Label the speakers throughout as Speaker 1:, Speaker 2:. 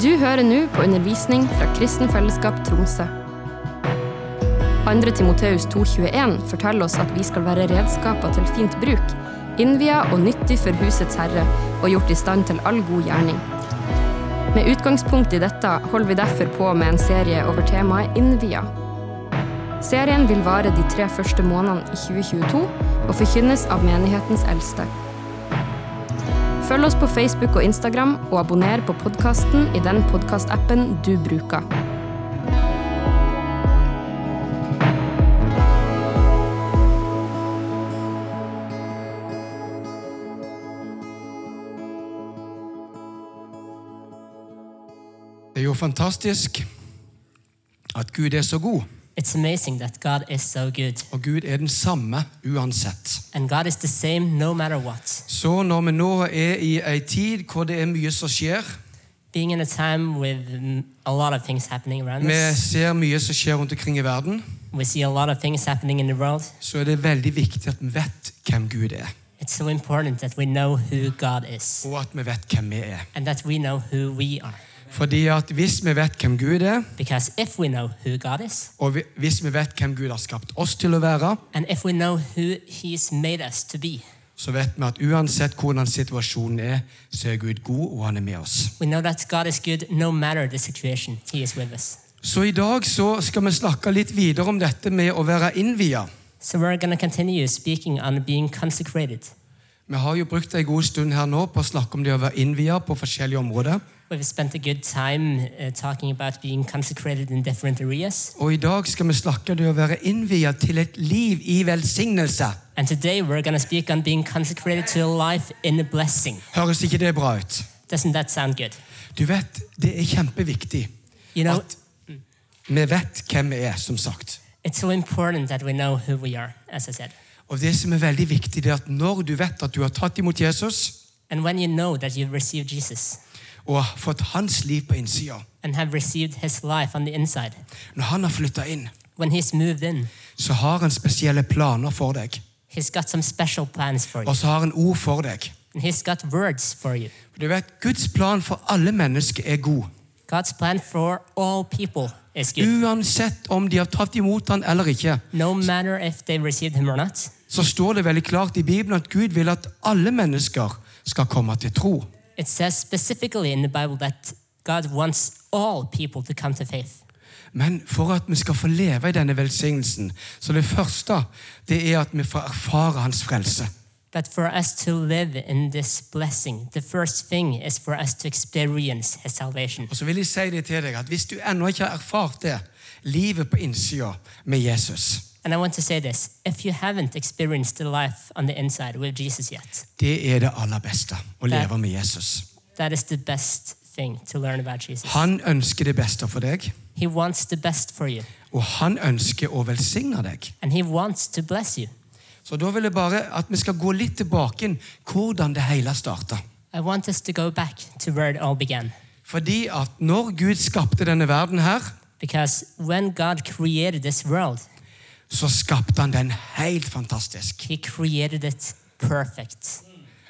Speaker 1: Du hører nå på undervisning fra Kristen Fellesskap Tromsø. 2. Timoteus 2,21 forteller oss at vi skal være redskaper til fint bruk, innvia og nyttig for husets herre og gjort i stand til all god gjerning. Med utgangspunkt i dette holder vi derfor på med en serie over temaet innvia. Serien vil vare de tre første månedene i 2022 og forkynnes av menighetens eldste. Følg oss på Facebook og Instagram, og abonner på podkasten i den podkastappen du bruker.
Speaker 2: Det er jo fantastisk at Gud er så god,
Speaker 3: It's amazing that God is so good.
Speaker 2: og Gud er den samme uansett.
Speaker 3: And God is the same no matter what.
Speaker 2: Så når vi nå er i ei tid hvor det er mye som skjer,
Speaker 3: Being in a time with mm, a lot of things happening around
Speaker 2: vi
Speaker 3: us,
Speaker 2: ser mye som skjer rundt omkring i verden,
Speaker 3: we see a lot of things happening in the world.
Speaker 2: så er det veldig viktig at vi vet hvem Gud er,
Speaker 3: It's so important that we know who God is
Speaker 2: og at vi vet hvem vi er.
Speaker 3: and that we know who we are.
Speaker 2: Fordi at hvis vi vet hvem Gud er,
Speaker 3: Because if we know who God is
Speaker 2: og vi- hvis vi vet hvem Gud har skapt oss til å være,
Speaker 3: and if we know who He's made us to be,
Speaker 2: så vet vi at uansett hvordan situasjonen er, så er Gud god, og han er med oss.
Speaker 3: we know that God is good no matter the situation. He is with us.
Speaker 2: Så i dag så skal vi snakke litt videre om dette med å være innvia.
Speaker 3: So we're going to continue speaking on being consecrated.
Speaker 2: Vi har jo brukt en god stund her nå på å snakke om det å være innvia på forskjellige områder.
Speaker 3: We've spent a good time uh, talking about being consecrated in different areas.
Speaker 2: Og i dag skal vi snakke om det å være innvia til et liv i velsignelse.
Speaker 3: And today we're going to speak on being consecrated to a life in a blessing.
Speaker 2: Høres ikke det bra ut?
Speaker 3: Doesn't that sound good?
Speaker 2: Du vet, det er kjempeviktig
Speaker 3: You know,
Speaker 2: at vi vet hvem vi er, som sagt.
Speaker 3: it's so important that we know who we are, as I said.
Speaker 2: Og det som er veldig viktig, det er at når du vet at du har tatt imot Jesus
Speaker 3: And when you know that you've received Jesus
Speaker 2: og har fått hans liv på innsida,
Speaker 3: and have received his life on the inside,
Speaker 2: når han har flytta inn,
Speaker 3: when he's moved in,
Speaker 2: så har han spesielle planer for deg.
Speaker 3: he's got some special plans for you.
Speaker 2: Og så har han ord for deg.
Speaker 3: And he's got words for you.
Speaker 2: For du vet, Guds plan for alle mennesker er god.
Speaker 3: God's plan for all people is good.
Speaker 2: Uansett om de har tatt imot han eller ikke,
Speaker 3: No matter if they received him or not,
Speaker 2: så står det veldig klart i Bibelen at Gud vil at alle mennesker skal komme til tro.
Speaker 3: It says specifically in the Bible that God wants all people to come to faith.
Speaker 2: Men for at vi skal få leve i denne velsignelsen, så det første det er at vi får erfare Hans frelse.
Speaker 3: But for us to live in this blessing, the first thing is for us to experience His salvation.
Speaker 2: Og så vil jeg si det til deg at Hvis du ennå ikke har erfart det, livet på innsida med Jesus,
Speaker 3: And I want to say this if you haven't experienced the life on the inside with Jesus yet,
Speaker 2: det er det aller beste. Å leve med Jesus.
Speaker 3: that is the best thing to learn about Jesus.
Speaker 2: Han ønsker det beste for deg,
Speaker 3: He wants the best for you,
Speaker 2: og han ønsker å velsigne deg.
Speaker 3: and He wants to bless you.
Speaker 2: Så da vil jeg bare at vi skal gå litt tilbake inn hvordan det hele starta.
Speaker 3: I want us to go back to where it all began.
Speaker 2: Fordi at når Gud skapte denne verden her,
Speaker 3: Because when God created this world,
Speaker 2: så skapte han den helt fantastisk.
Speaker 3: He created it perfect.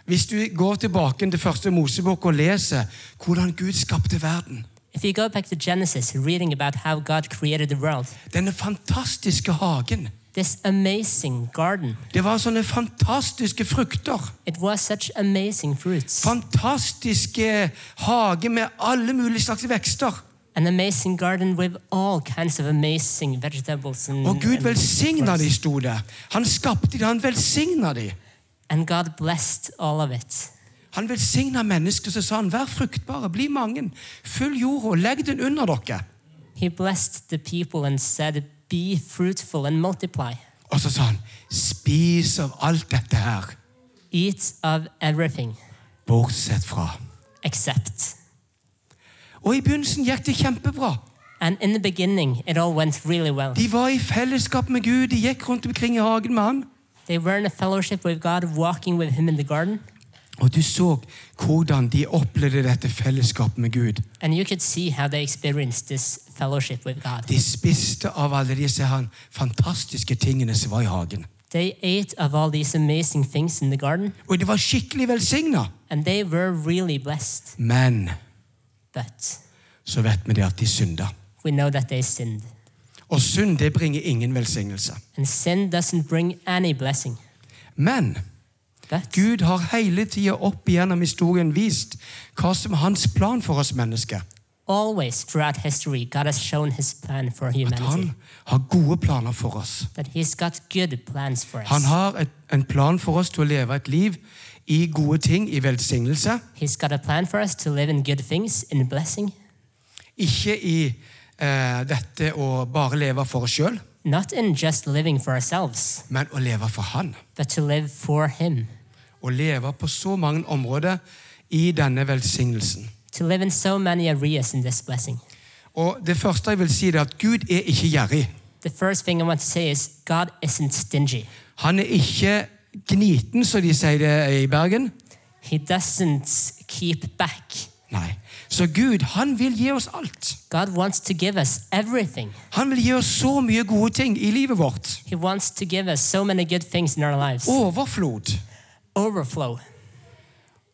Speaker 2: Hvis du går tilbake til første Mosebok og leser hvordan Gud skapte verden,
Speaker 3: If you go back to Genesis, reading about how God created the world,
Speaker 2: denne fantastiske hagen
Speaker 3: this amazing garden,
Speaker 2: Det var sånne fantastiske frukter.
Speaker 3: it was such amazing fruits.
Speaker 2: Fantastiske hage med alle mulige slags vekster.
Speaker 3: An amazing garden with all kinds of amazing vegetables and,
Speaker 2: Og Oh, Gud
Speaker 3: and
Speaker 2: velsigna de,
Speaker 3: fruits.
Speaker 2: sto det. Han skapte de, han velsigna de.
Speaker 3: And God blessed all of it.
Speaker 2: Han velsigna mennesker, så sa han, vær fruktbare, bli mange, fyll jorda, legg den under dere.
Speaker 3: He blessed the people and said, Be fruitful and multiply.
Speaker 2: Og så sa han, spis av alt dette her,
Speaker 3: Eat of everything
Speaker 2: bortsett fra.
Speaker 3: except.
Speaker 2: Og i begynnelsen gikk det kjempebra.
Speaker 3: And in the beginning, it all went really well.
Speaker 2: De var i fellesskap med Gud, de gikk rundt omkring i hagen med han.
Speaker 3: They were in a fellowship with God, walking with Him in the garden.
Speaker 2: Og du så hvordan de opplevde dette fellesskapet med Gud.
Speaker 3: And you could see how they experienced this fellowship with God.
Speaker 2: De spiste av alle disse her fantastiske tingene som var i hagen.
Speaker 3: They ate of all these amazing things in the garden,
Speaker 2: Og det var skikkelig velsigna.
Speaker 3: and they were really blessed.
Speaker 2: Men
Speaker 3: But
Speaker 2: så vet vi det at de synder.
Speaker 3: we know that they sinned.
Speaker 2: Og synd det bringer ingen velsignelse.
Speaker 3: And sin doesn't bring any blessing.
Speaker 2: Men
Speaker 3: But
Speaker 2: Gud har hele tida opp igjennom historien vist hva som er hans plan for oss mennesker.
Speaker 3: always throughout history, God has shown his plan for
Speaker 2: At han
Speaker 3: humanity.
Speaker 2: har gode planer for oss.
Speaker 3: That he's got good plans for
Speaker 2: Han
Speaker 3: us.
Speaker 2: har et, en plan for oss til å leve et liv i gode ting, i velsignelse.
Speaker 3: He's got a plan for us to live in good things, in blessing,
Speaker 2: Ikke i eh, dette å bare leve for oss sjøl,
Speaker 3: not in just living for ourselves,
Speaker 2: men å leve for Han.
Speaker 3: but to live for him.
Speaker 2: Å leve på så mange områder i denne velsignelsen.
Speaker 3: To live in so many areas in this blessing.
Speaker 2: Og Det første jeg vil si, det er at Gud er ikke gjerrig.
Speaker 3: The first thing I want to say is God isn't stingy.
Speaker 2: Han er ikke gniten, som de sier det i Bergen.
Speaker 3: He doesn't keep back.
Speaker 2: Nei. Så Gud, han vil gi oss alt.
Speaker 3: God wants to give us everything.
Speaker 2: Han vil gi oss så mye gode ting i livet vårt.
Speaker 3: He wants to give us so many good things in our lives.
Speaker 2: Overflod.
Speaker 3: Overflow,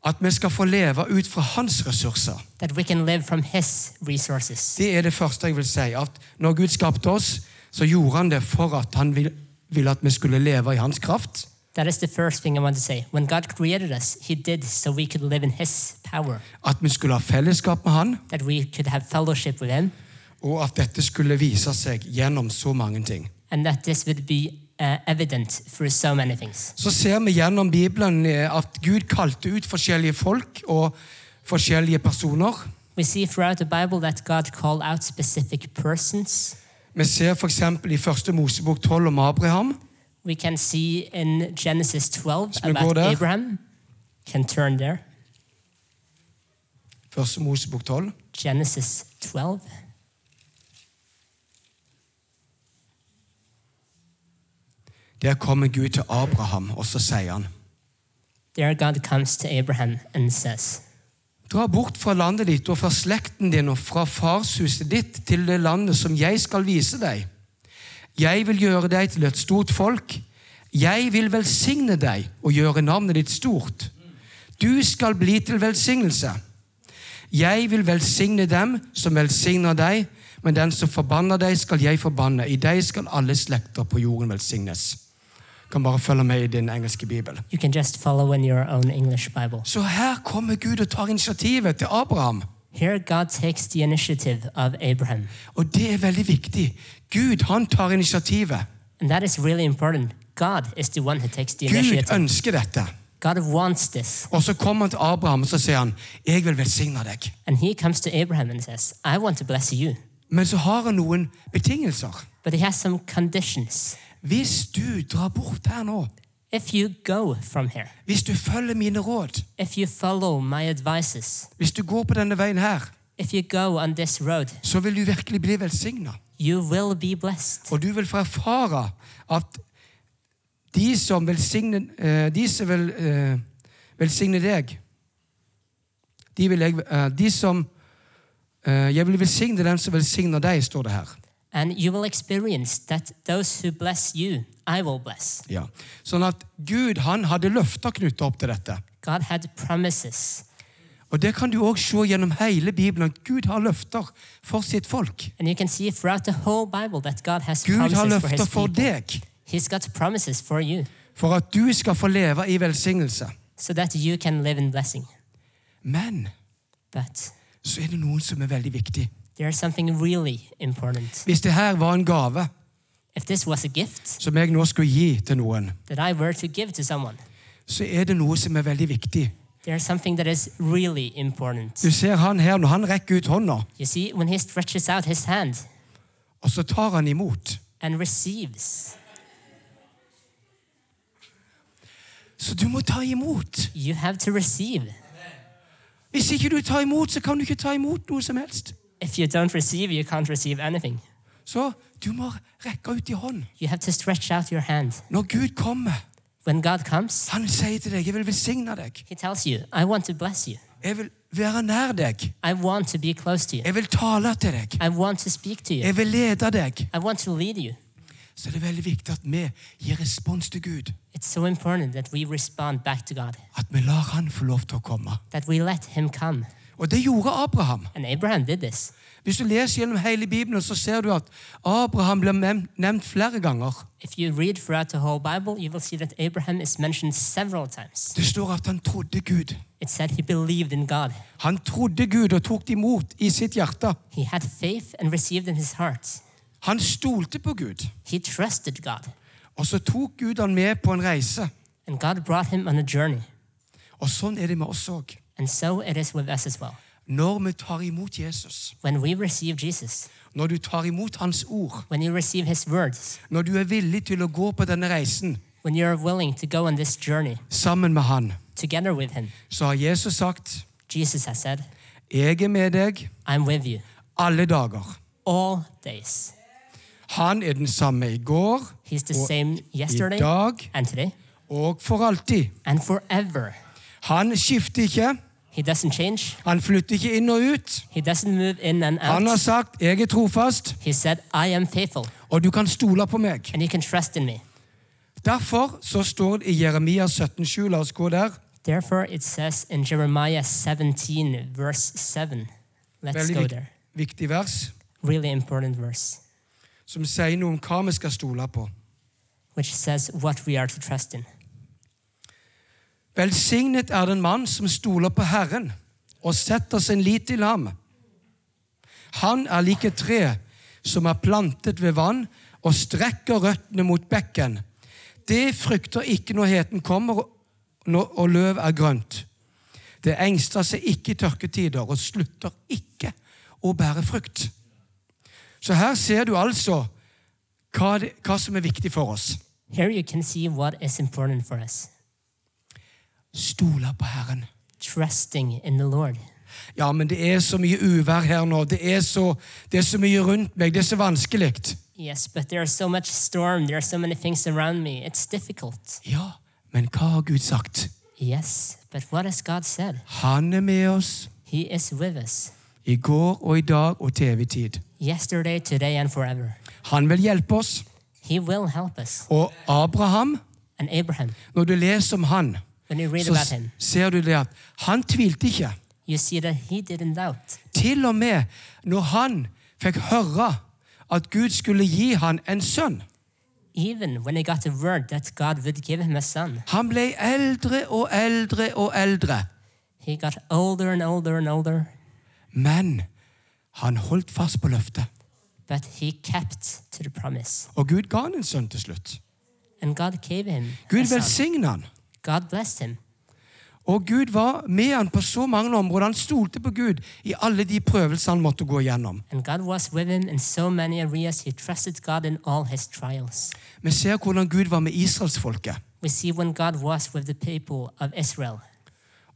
Speaker 2: At vi skal få leve ut fra hans ressurser.
Speaker 3: that we can live from His resources.
Speaker 2: Det er det første jeg vil si. At når Gud skapte oss, så gjorde han det for at han vil- ville at vi skulle leve i hans kraft.
Speaker 3: That is the first thing I want to say. When God created us, He did so we could live in His power,
Speaker 2: At vi skulle ha fellesskap med han,
Speaker 3: that we could have fellowship with Him,
Speaker 2: og at dette skulle vise seg gjennom så mange ting.
Speaker 3: and that this would be uh, evident through so many things.
Speaker 2: Så ser vi gjennom Bibelen eh, at Gud kalte ut forskjellige folk og forskjellige personer.
Speaker 3: We see throughout the Bible that God called out specific persons.
Speaker 2: Vi ser f.eks. i første Mosebok 12 om Abraham.
Speaker 3: We can see in Genesis 12
Speaker 2: Skal vi gå
Speaker 3: about
Speaker 2: der?
Speaker 3: Abraham. Can turn there.
Speaker 2: Første Mosebok 12.
Speaker 3: Genesis 12.
Speaker 2: Der kommer Gud til Abraham, og så sier han
Speaker 3: There God comes to Abraham and says,
Speaker 2: Dra bort fra landet ditt og fra slekten din og fra farshuset ditt til det landet som jeg skal vise deg. Jeg vil gjøre deg til et stort folk. Jeg vil velsigne deg og gjøre navnet ditt stort. Du skal bli til velsignelse. Jeg vil velsigne dem som velsigner deg, men den som forbanner deg, skal jeg forbanne. I deg skal alle slekter på jorden velsignes. Kan bare følge med i din engelske bibel.
Speaker 3: You can just follow in your own English Bible.
Speaker 2: Så her kommer Gud og tar initiativet til Abraham.
Speaker 3: Here, God takes the initiative of Abraham.
Speaker 2: Og det er veldig viktig. Gud han tar initiativet.
Speaker 3: And that is really important. God is the one who takes the
Speaker 2: Gud
Speaker 3: initiative.
Speaker 2: ønsker dette.
Speaker 3: God wants this.
Speaker 2: Og så kommer han til Abraham og så sier han, 'Jeg vil velsigne deg'.
Speaker 3: And he comes to Abraham and says, I want to bless you.
Speaker 2: Men så har han noen betingelser.
Speaker 3: But he has some conditions.
Speaker 2: Hvis du drar bort her nå,
Speaker 3: If you go from here,
Speaker 2: hvis du følger mine råd,
Speaker 3: if you follow my advices,
Speaker 2: hvis du går på denne veien her,
Speaker 3: if you go on this road,
Speaker 2: så vil du virkelig bli velsigna.
Speaker 3: you will be blessed.
Speaker 2: Og du vil få erfare at de som velsigner, eh, de som vil, eh, velsigner deg de, vil jeg, eh, de som eh, Jeg vil velsigne den som velsigner deg, står det her.
Speaker 3: And you will experience that those who bless you, I will bless.
Speaker 2: Ja. Sånn at Gud han hadde løfter knyttet opp til dette.
Speaker 3: God had promises.
Speaker 2: Og Det kan du òg se gjennom hele Bibelen, at Gud har løfter for sitt folk.
Speaker 3: And you can see throughout the whole Bible that God has
Speaker 2: Gud har
Speaker 3: promises for his
Speaker 2: løfter
Speaker 3: people.
Speaker 2: for deg,
Speaker 3: He's got promises for you
Speaker 2: for at du skal få leve i velsignelse.
Speaker 3: so that you can live in blessing.
Speaker 2: Men
Speaker 3: But
Speaker 2: så er det noen som er veldig viktig.
Speaker 3: there's something really important.
Speaker 2: Hvis det her var en gave
Speaker 3: If this was a gift
Speaker 2: som jeg nå skulle gi til noen,
Speaker 3: that I were to give to someone,
Speaker 2: så er det noe som er veldig viktig.
Speaker 3: there's something that is really important.
Speaker 2: Du ser han her, når han rekker ut hånda,
Speaker 3: You see, when he stretches out his hand
Speaker 2: og så tar han imot.
Speaker 3: and receives,
Speaker 2: Så du må ta imot.
Speaker 3: you have to receive.
Speaker 2: Hvis ikke du tar imot, så kan du ikke ta imot noe som helst.
Speaker 3: If you don't receive, you can't receive anything.
Speaker 2: Så du må rekke ut i hånd.
Speaker 3: You have to stretch out your hand.
Speaker 2: Når Gud kommer,
Speaker 3: When God comes,
Speaker 2: han sier til deg, jeg vil velsigne deg.
Speaker 3: he tells you, I want to bless you.
Speaker 2: Jeg vil være nær deg.
Speaker 3: I want to be close to you.
Speaker 2: Jeg vil tale til deg.
Speaker 3: I want to speak to you.
Speaker 2: Jeg vil lede deg.
Speaker 3: I want to lead you.
Speaker 2: Så det er veldig viktig at vi gir respons til Gud.
Speaker 3: It's so important that we respond back to God,
Speaker 2: At vi lar han få lov til å komme.
Speaker 3: that we let Him come.
Speaker 2: Og det gjorde Abraham.
Speaker 3: And Abraham did this.
Speaker 2: Hvis du leser gjennom hele Bibelen, så ser du at Abraham blir mem- nevnt flere ganger.
Speaker 3: If you read throughout the whole Bible, you will see that Abraham is mentioned several times.
Speaker 2: Det står at han trodde Gud.
Speaker 3: It said he believed in God.
Speaker 2: Han trodde Gud og tok det imot i sitt hjerte.
Speaker 3: He had faith and received in his heart.
Speaker 2: Han stolte på Gud.
Speaker 3: He trusted God.
Speaker 2: Og så tok Gud han med på en reise.
Speaker 3: And God brought him on a journey.
Speaker 2: Og sånn er det med oss òg.
Speaker 3: And so it is with us as well.
Speaker 2: Når vi tar imot Jesus,
Speaker 3: When we receive Jesus,
Speaker 2: når du tar imot Hans ord,
Speaker 3: when you receive his words,
Speaker 2: når du er villig til å gå på denne reisen
Speaker 3: when you are willing to go on this journey
Speaker 2: sammen med Han,
Speaker 3: together with him,
Speaker 2: så har Jesus sagt,
Speaker 3: Jesus has said,
Speaker 2: 'Jeg er med deg
Speaker 3: I'm with you
Speaker 2: alle dager'.
Speaker 3: all days.
Speaker 2: Han er den samme i går,
Speaker 3: He's the
Speaker 2: Og
Speaker 3: same yesterday
Speaker 2: i dag
Speaker 3: and today
Speaker 2: og for alltid.
Speaker 3: and forever.
Speaker 2: Han skifter ikke.
Speaker 3: He doesn't change.
Speaker 2: Han flytter ikke inn og ut.
Speaker 3: He doesn't move in and out.
Speaker 2: Han har sagt 'Jeg er trofast,
Speaker 3: He said, I am faithful
Speaker 2: og du kan stole på meg'.
Speaker 3: and you can trust in me.
Speaker 2: Derfor så står det i Jeremia 17,7, la oss gå der,
Speaker 3: Therefore, it says in Jeremiah 17, verse 7. Let's
Speaker 2: veldig
Speaker 3: go
Speaker 2: vik
Speaker 3: there.
Speaker 2: viktig vers,
Speaker 3: Really important verse,
Speaker 2: som sier noe om hva vi skal stole på.
Speaker 3: which says what we are to trust in.
Speaker 2: Velsignet er den mann som stoler på Herren og setter sin lit til ham. Han er lik et tre som er plantet ved vann og strekker røttene mot bekken. Det frykter ikke når heten kommer og- når- og løv er grønt. Det engster seg ikke i tørketider og slutter ikke å bære frukt. Så her ser du altså hva, det, hva som er viktig for oss.
Speaker 3: Here you can see what is important for us
Speaker 2: Stoler på Herren.
Speaker 3: trusting in the Lord.
Speaker 2: Ja, men det er så mye uvær her nå. Det er så, det er så mye rundt meg. Det er så vanskelig.
Speaker 3: Yes, but there's so much storm, there are so many things around me. It's difficult.
Speaker 2: Ja, men hva har Gud sagt?
Speaker 3: Yes, but what has God said?
Speaker 2: Han er med oss
Speaker 3: He is with us
Speaker 2: i går og i dag og til evig tid.
Speaker 3: yesterday, today, and forever.
Speaker 2: Han vil hjelpe oss.
Speaker 3: He will help us.
Speaker 2: Og Abraham,
Speaker 3: And Abraham,
Speaker 2: når du leser om han,
Speaker 3: when you read
Speaker 2: så
Speaker 3: about
Speaker 2: s-
Speaker 3: him,
Speaker 2: ser du det at han tvilte ikke.
Speaker 3: you see that he didn't doubt.
Speaker 2: Til og med når han fikk høre at Gud skulle gi han en sønn.
Speaker 3: Even when he got the word that God would give him a son,
Speaker 2: Han ble eldre og eldre og eldre.
Speaker 3: he got older and older and older,
Speaker 2: Men han holdt fast på løftet.
Speaker 3: but he kept to the promise.
Speaker 2: Og Gud ga han en sønn til slutt.
Speaker 3: And God gave him a
Speaker 2: Gud
Speaker 3: son.
Speaker 2: velsigna han.
Speaker 3: God blessed him.
Speaker 2: Og Gud var med han på så mange områder. Han stolte på Gud i alle de prøvelser han måtte gå igjennom.
Speaker 3: And God was with him in so many areas. He trusted God in all his trials.
Speaker 2: Vi ser hvordan Gud var med israelsfolket.
Speaker 3: We see when God was with the people of Israel,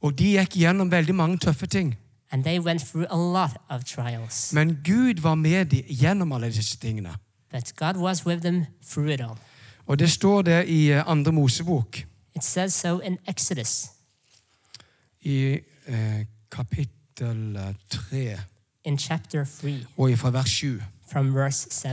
Speaker 2: Og de gikk gjennom veldig mange tøffe ting.
Speaker 3: and they went through a lot of trials.
Speaker 2: Men Gud var med dem gjennom alle disse tingene.
Speaker 3: But God was with them through it all.
Speaker 2: Og det står det i eh, andre Mosebok,
Speaker 3: It says so in Exodus,
Speaker 2: i eh, kapittel eh, 3,
Speaker 3: in chapter 3,
Speaker 2: og fra vers 7.
Speaker 3: from verse 7.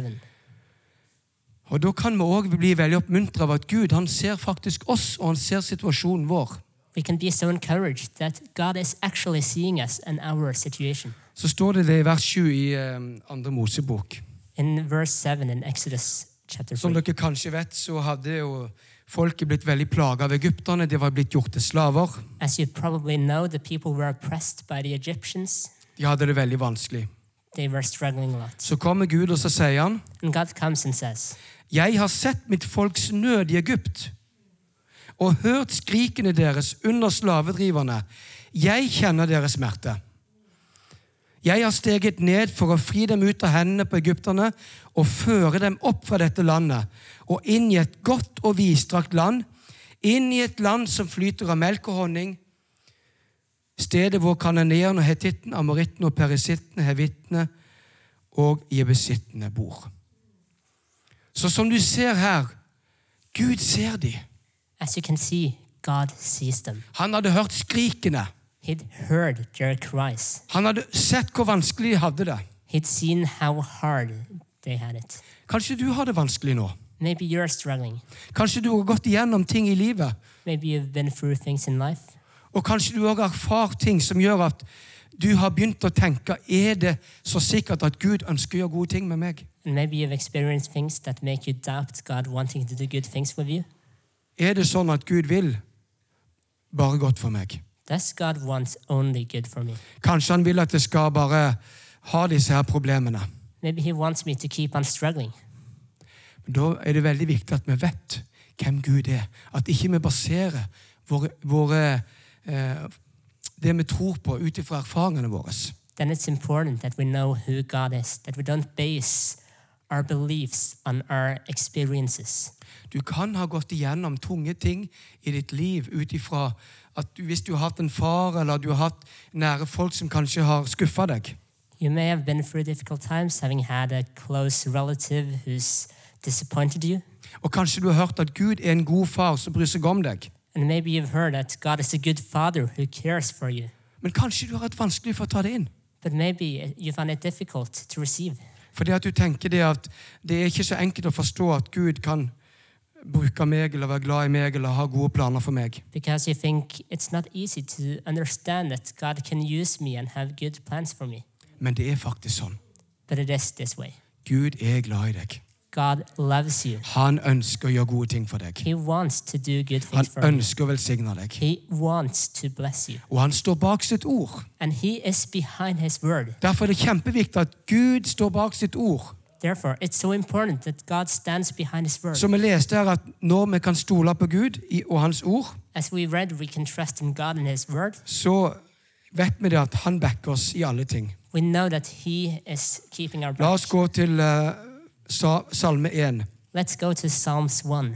Speaker 2: Og da kan vi òg bli veldig oppmuntra av at Gud han ser faktisk oss, og han ser situasjonen vår.
Speaker 3: We can be so encouraged that God is actually seeing us and our situation.
Speaker 2: så står det det i vers 7 i eh, andre Mosebok.
Speaker 3: In verse 7 in Exodus chapter
Speaker 2: Som
Speaker 3: 3,
Speaker 2: dere kanskje vet, så hadde jo folket blitt veldig plaga av egypterne. De var blitt gjort til slaver.
Speaker 3: as you probably know, the people were oppressed by the Egyptians.
Speaker 2: De hadde det veldig vanskelig.
Speaker 3: They were struggling a lot.
Speaker 2: Så kommer Gud, og så sier han,
Speaker 3: And God comes and says,
Speaker 2: Jeg har sett mitt folks nød i Egypt og hørt skrikene deres under slavedriverne. Jeg kjenner deres smerte. Jeg har steget ned for å fri dem ut av hendene på egypterne og føre dem opp fra dette landet og inn i et godt og vidstrakt land, inn i et land som flyter av melk og honning, stedet hvor kananeerne, hetitten, amorittene og perisittene, hevittene og jebesittene bor. Så som du ser her, Gud ser de.
Speaker 3: As you can see, God sees them.
Speaker 2: Han hadde hørt skrikene.
Speaker 3: He'd heard their cries.
Speaker 2: Han hadde sett hvor vanskelig de hadde det.
Speaker 3: He'd seen how hard they had it.
Speaker 2: Kanskje du har det vanskelig nå.
Speaker 3: Maybe you're struggling.
Speaker 2: Kanskje du har gått igjennom ting i livet.
Speaker 3: Maybe you've been through things in life.
Speaker 2: Og kanskje du også har erfart ting som gjør at du har begynt å tenke er det så sikkert at Gud ønsker å gjøre gode ting med meg?
Speaker 3: And maybe you've experienced things that make you doubt God wanting to do good things with you.
Speaker 2: Er det sånn at Gud vil bare godt for meg?
Speaker 3: Does God want only good for me?
Speaker 2: Kanskje han vil at jeg skal bare ha disse her problemene.
Speaker 3: Maybe He wants me to keep on struggling.
Speaker 2: Men Da er det veldig viktig at vi vet hvem Gud er. At ikke vi baserer våre, våre, eh, det vi tror på, ut ifra erfaringene våre.
Speaker 3: Then it's important that we know who God is, that we don't base our beliefs on our experiences.
Speaker 2: Du kan ha gått igjennom tunge ting i ditt liv ut ifra at du, hvis du har hatt en far eller du har hatt nære folk som kanskje har skuffa deg.
Speaker 3: You may have been through difficult times, having had a close relative who's disappointed you.
Speaker 2: Og kanskje du har hørt at Gud er en god far som bryr seg om deg.
Speaker 3: And maybe you've heard that God is a good father who cares for you.
Speaker 2: Men kanskje du har hatt vanskelig for å ta det inn.
Speaker 3: But maybe you find it difficult to receive.
Speaker 2: Fordi at du tenker det at det er ikke så enkelt å forstå at Gud kan bruke meg eller være glad i meg eller ha gode planer for meg.
Speaker 3: because you think it's not easy to understand that God can use me and have good plans for me.
Speaker 2: Men det er faktisk sånn.
Speaker 3: But it is this way
Speaker 2: Gud er glad i deg.
Speaker 3: God loves you,
Speaker 2: Han ønsker å gjøre gode ting for deg.
Speaker 3: He wants to do good
Speaker 2: Han
Speaker 3: things for you,
Speaker 2: ønsker å velsigne deg.
Speaker 3: He wants to bless you,
Speaker 2: Og han står bak sitt ord.
Speaker 3: and He is behind His word.
Speaker 2: Derfor er det kjempeviktig at Gud står bak sitt ord.
Speaker 3: Therefore, it's so important that God stands behind His word.
Speaker 2: Som vi leste her, at når vi kan stole på Gud i- og hans ord,
Speaker 3: As we read, we can trust in God and His word.
Speaker 2: så vet vi det at han backer oss i alle ting.
Speaker 3: We know that He is keeping our
Speaker 2: La
Speaker 3: promise.
Speaker 2: oss gå til eh, sa, Salme 1.
Speaker 3: Let's go to Psalms 1.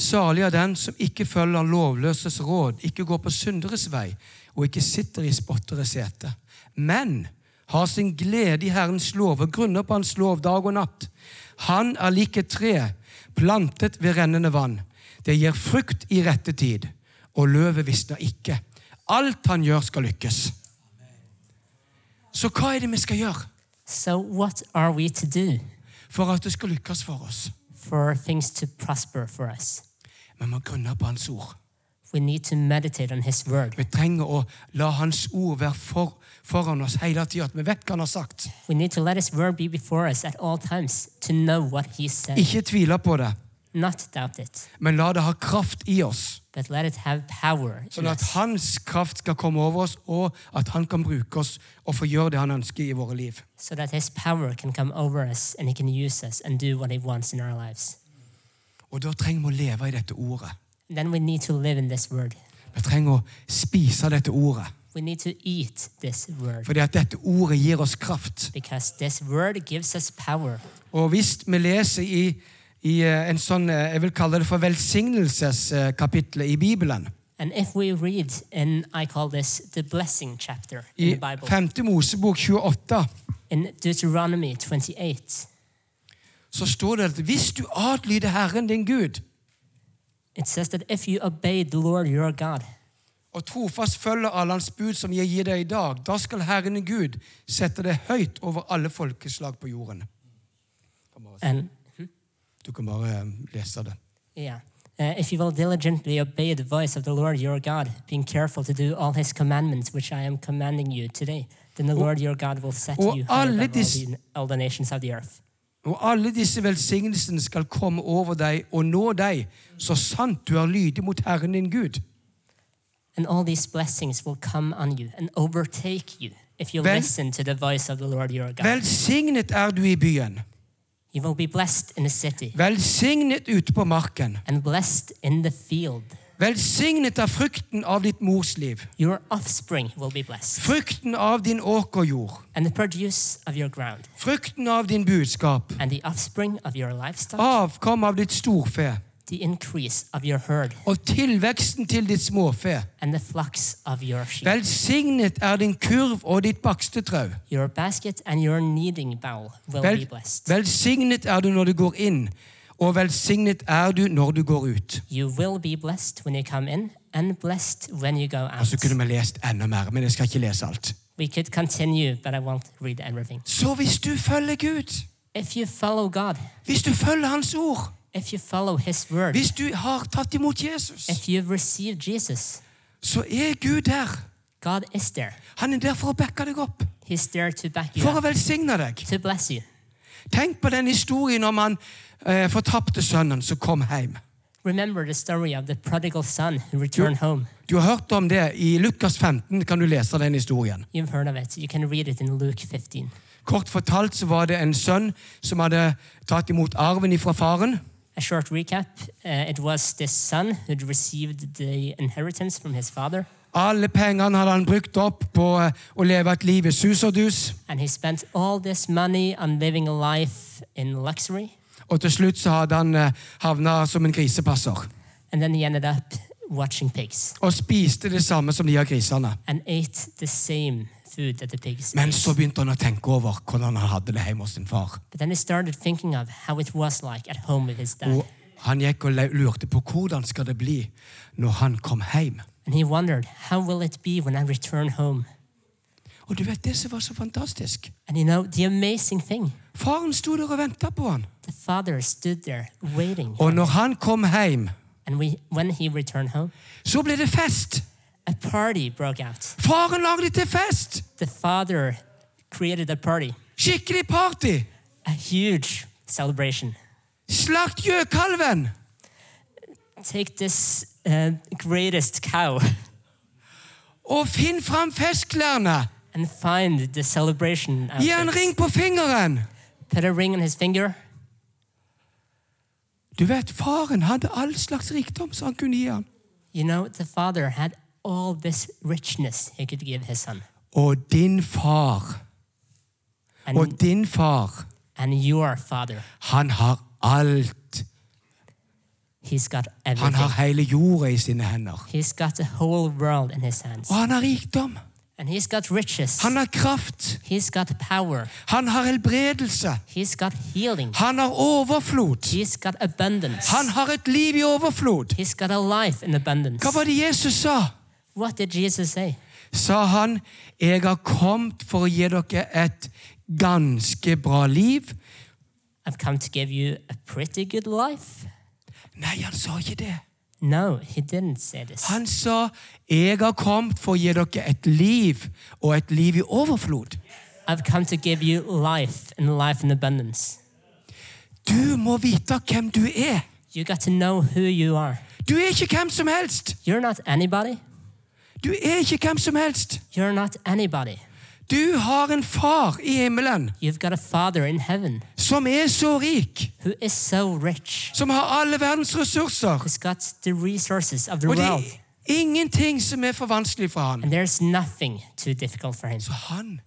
Speaker 2: Salig er den som ikke følger lovløses råd, ikke går på synderes vei og ikke sitter i spotteres sete, men har sin glede i Herrens lov og grunner på Hans lov dag og natt. Han er lik et tre, plantet ved rennende vann. Det gir frukt i rette tid, og løvet visner ikke. Alt han gjør, skal lykkes. Så hva er det vi skal gjøre
Speaker 3: So, what are we to do
Speaker 2: for at det skal lykkes for oss?
Speaker 3: for things to prosper for us?
Speaker 2: Vi må grunne på Hans ord.
Speaker 3: We need to meditate on His word.
Speaker 2: Vi trenger å la Hans ord være for, foran oss hele tida, at vi vet hva Han har sagt.
Speaker 3: We need to let His word be before us at all times to know what He said,
Speaker 2: Ikke tvile på det,
Speaker 3: not doubt it,
Speaker 2: men la det ha kraft i oss.
Speaker 3: but let it have power. in
Speaker 2: Sånn at
Speaker 3: us,
Speaker 2: Hans kraft skal komme over oss, og at Han kan bruke oss og få gjøre det Han ønsker i våre liv.
Speaker 3: so that His power can come over us and He can use us and do what He wants in our lives.
Speaker 2: Og da trenger vi å leve i dette ordet.
Speaker 3: And then we need to live in this word.
Speaker 2: Vi trenger å spise dette ordet.
Speaker 3: We need to eat this word
Speaker 2: Fordi at dette ordet gir oss kraft.
Speaker 3: because this word gives us power.
Speaker 2: Og hvis vi leser i, i eh, en sånn, eh, jeg vil kalle det for velsignelseskapitlet i Bibelen,
Speaker 3: And if we read in, I call this the blessing chapter in
Speaker 2: i
Speaker 3: the Bible,
Speaker 2: 5. Mosebok 28
Speaker 3: in Deuteronomy 28,
Speaker 2: så står det at hvis du adlyder Herren din Gud
Speaker 3: it says that if you obey the Lord your God,
Speaker 2: og trofast følger alle hans bud som jeg gir deg i dag, da skal Herren din Gud sette deg høyt over alle folkeslag på jorden.
Speaker 3: and
Speaker 2: Du kan bare eh, lese det.
Speaker 3: Yeah. Uh, if you will diligently obey the voice of the Lord your God, being careful to do all his commandments which I am commanding you today, then the Lord your God will set
Speaker 2: og
Speaker 3: you high
Speaker 2: alle
Speaker 3: above all
Speaker 2: dis-
Speaker 3: the, all the nations of the earth.
Speaker 2: Og alle disse velsignelsene skal komme over deg og nå deg, så sant du er lydig mot Herren din Gud.
Speaker 3: And all these blessings will come on you and overtake you if you
Speaker 2: Vel-
Speaker 3: listen to the voice of the Lord your God.
Speaker 2: Velsignet er du i byen,
Speaker 3: you will be blessed in the city
Speaker 2: velsignet ute på marken,
Speaker 3: and blessed in the field.
Speaker 2: velsignet er frukten av ditt mors liv,
Speaker 3: Your offspring will be blessed,
Speaker 2: frukten av din åkerjord,
Speaker 3: and the produce of your ground,
Speaker 2: frukten av din budskap,
Speaker 3: and the offspring of your
Speaker 2: Oh
Speaker 3: livestock,
Speaker 2: avkom av ditt storfe
Speaker 3: the increase of your herd,
Speaker 2: og tilveksten til ditt småfe.
Speaker 3: and the flocks of your sheep.
Speaker 2: Velsignet er din kurv og ditt bakstetrau.
Speaker 3: Your basket and your kneading bowl will
Speaker 2: Vel,
Speaker 3: be blessed.
Speaker 2: velsignet er du når du går inn, og velsignet er du når du går ut.
Speaker 3: you will be blessed when you come in and blessed when you go
Speaker 2: Og
Speaker 3: out.
Speaker 2: så kunne vi lest enda mer, men jeg skal ikke lese alt.
Speaker 3: We could continue, but I won't read everything.
Speaker 2: Så hvis du følger Gud,
Speaker 3: If you follow God,
Speaker 2: hvis du følger Hans ord,
Speaker 3: If you follow his word,
Speaker 2: Hvis du har tatt imot Jesus,
Speaker 3: if you've received Jesus,
Speaker 2: så er Gud der.
Speaker 3: God is there.
Speaker 2: Han er der for å backe deg opp,
Speaker 3: He's there to back you
Speaker 2: for
Speaker 3: up,
Speaker 2: å velsigne deg.
Speaker 3: to bless you.
Speaker 2: Tenk på den historien om han eh, fortapte sønnen som kom hjem.
Speaker 3: Remember the story of the prodigal son who returned home.
Speaker 2: Du har hørt om det i Lukas 15, kan du lese den historien.
Speaker 3: You've heard of it. You can read it in Luke 15.
Speaker 2: Kort fortalt så var det en sønn som hadde tatt imot arven fra faren.
Speaker 3: A short recap uh, it was this son who'd received the inheritance from his father,
Speaker 2: Alle pengene hadde han brukt opp på eh, å leve et liv i sus og dus.
Speaker 3: and he spent all this money on living a life in luxury,
Speaker 2: Og til slutt så hadde han eh, havna som en grisepasser.
Speaker 3: and then he ended up watching pigs
Speaker 2: Og spiste det samme som de av grisene.
Speaker 3: and ate the same food that the pigs
Speaker 2: Men
Speaker 3: ate.
Speaker 2: så begynte han å tenke over hvordan han hadde det hjemme hos sin far.
Speaker 3: But then he started thinking of how it was like at home with his dad.
Speaker 2: Og han gikk og le- lurte på hvordan skal det bli når han kom hjem.
Speaker 3: And he wondered, how will it be when I return home?
Speaker 2: Og du vet det som var så fantastisk?
Speaker 3: And you know, the amazing thing,
Speaker 2: Faren sto der og venta på han.
Speaker 3: the father stood there waiting.
Speaker 2: Og når han kom hjem,
Speaker 3: And we, when he returned home,
Speaker 2: så ble det fest.
Speaker 3: a party broke out.
Speaker 2: Faren lagde til fest!
Speaker 3: The father created a party,
Speaker 2: Skikkelig party!
Speaker 3: a huge celebration.
Speaker 2: Slakt gjøkalven!
Speaker 3: Take this uh, greatest cow
Speaker 2: Og finn fram festklærne!
Speaker 3: and find the celebration.
Speaker 2: Gi han
Speaker 3: outfits.
Speaker 2: ring på fingeren!
Speaker 3: Put a ring on his finger.
Speaker 2: Du vet, faren hadde all slags rikdom som han kunne gi han.
Speaker 3: You know, the father had all this richness he could give his son.
Speaker 2: Og din far,
Speaker 3: And
Speaker 2: og din far,
Speaker 3: and your father.
Speaker 2: han har alt.
Speaker 3: He's got
Speaker 2: Han
Speaker 3: everything.
Speaker 2: har hele jorda i sine hender.
Speaker 3: He's got the whole world in his hands.
Speaker 2: Og han har rikdom.
Speaker 3: And he's got riches.
Speaker 2: Han har kraft.
Speaker 3: He's got power.
Speaker 2: Han har helbredelse.
Speaker 3: He's got healing.
Speaker 2: Han har overflod.
Speaker 3: He's got abundance.
Speaker 2: Han har et liv i overflod.
Speaker 3: He's got a life in abundance.
Speaker 2: Hva var det Jesus sa?
Speaker 3: What did Jesus say?
Speaker 2: Sa han, jeg har kommet for å gi dere et ganske bra liv.
Speaker 3: I've come to give you a pretty good life.
Speaker 2: Nei, han sa ikke det.
Speaker 3: No, he didn't say this.
Speaker 2: Han sa, jeg har kommet for å gi dere et liv, og et liv i overflod.
Speaker 3: I've come to give you life and life in abundance.
Speaker 2: Du må vite hvem du er.
Speaker 3: You got to know who you are.
Speaker 2: Du er ikke hvem som helst.
Speaker 3: You're not anybody.
Speaker 2: Du er ikke hvem som helst.
Speaker 3: You're not anybody.
Speaker 2: Du har en far i himmelen
Speaker 3: You've got a father in heaven
Speaker 2: som er så rik,
Speaker 3: who is so rich.
Speaker 2: som har alle verdens ressurser.
Speaker 3: He's got the resources of the
Speaker 2: Og det
Speaker 3: world.
Speaker 2: er ingenting som er for vanskelig for han.
Speaker 3: And there's nothing too difficult for him.
Speaker 2: Så han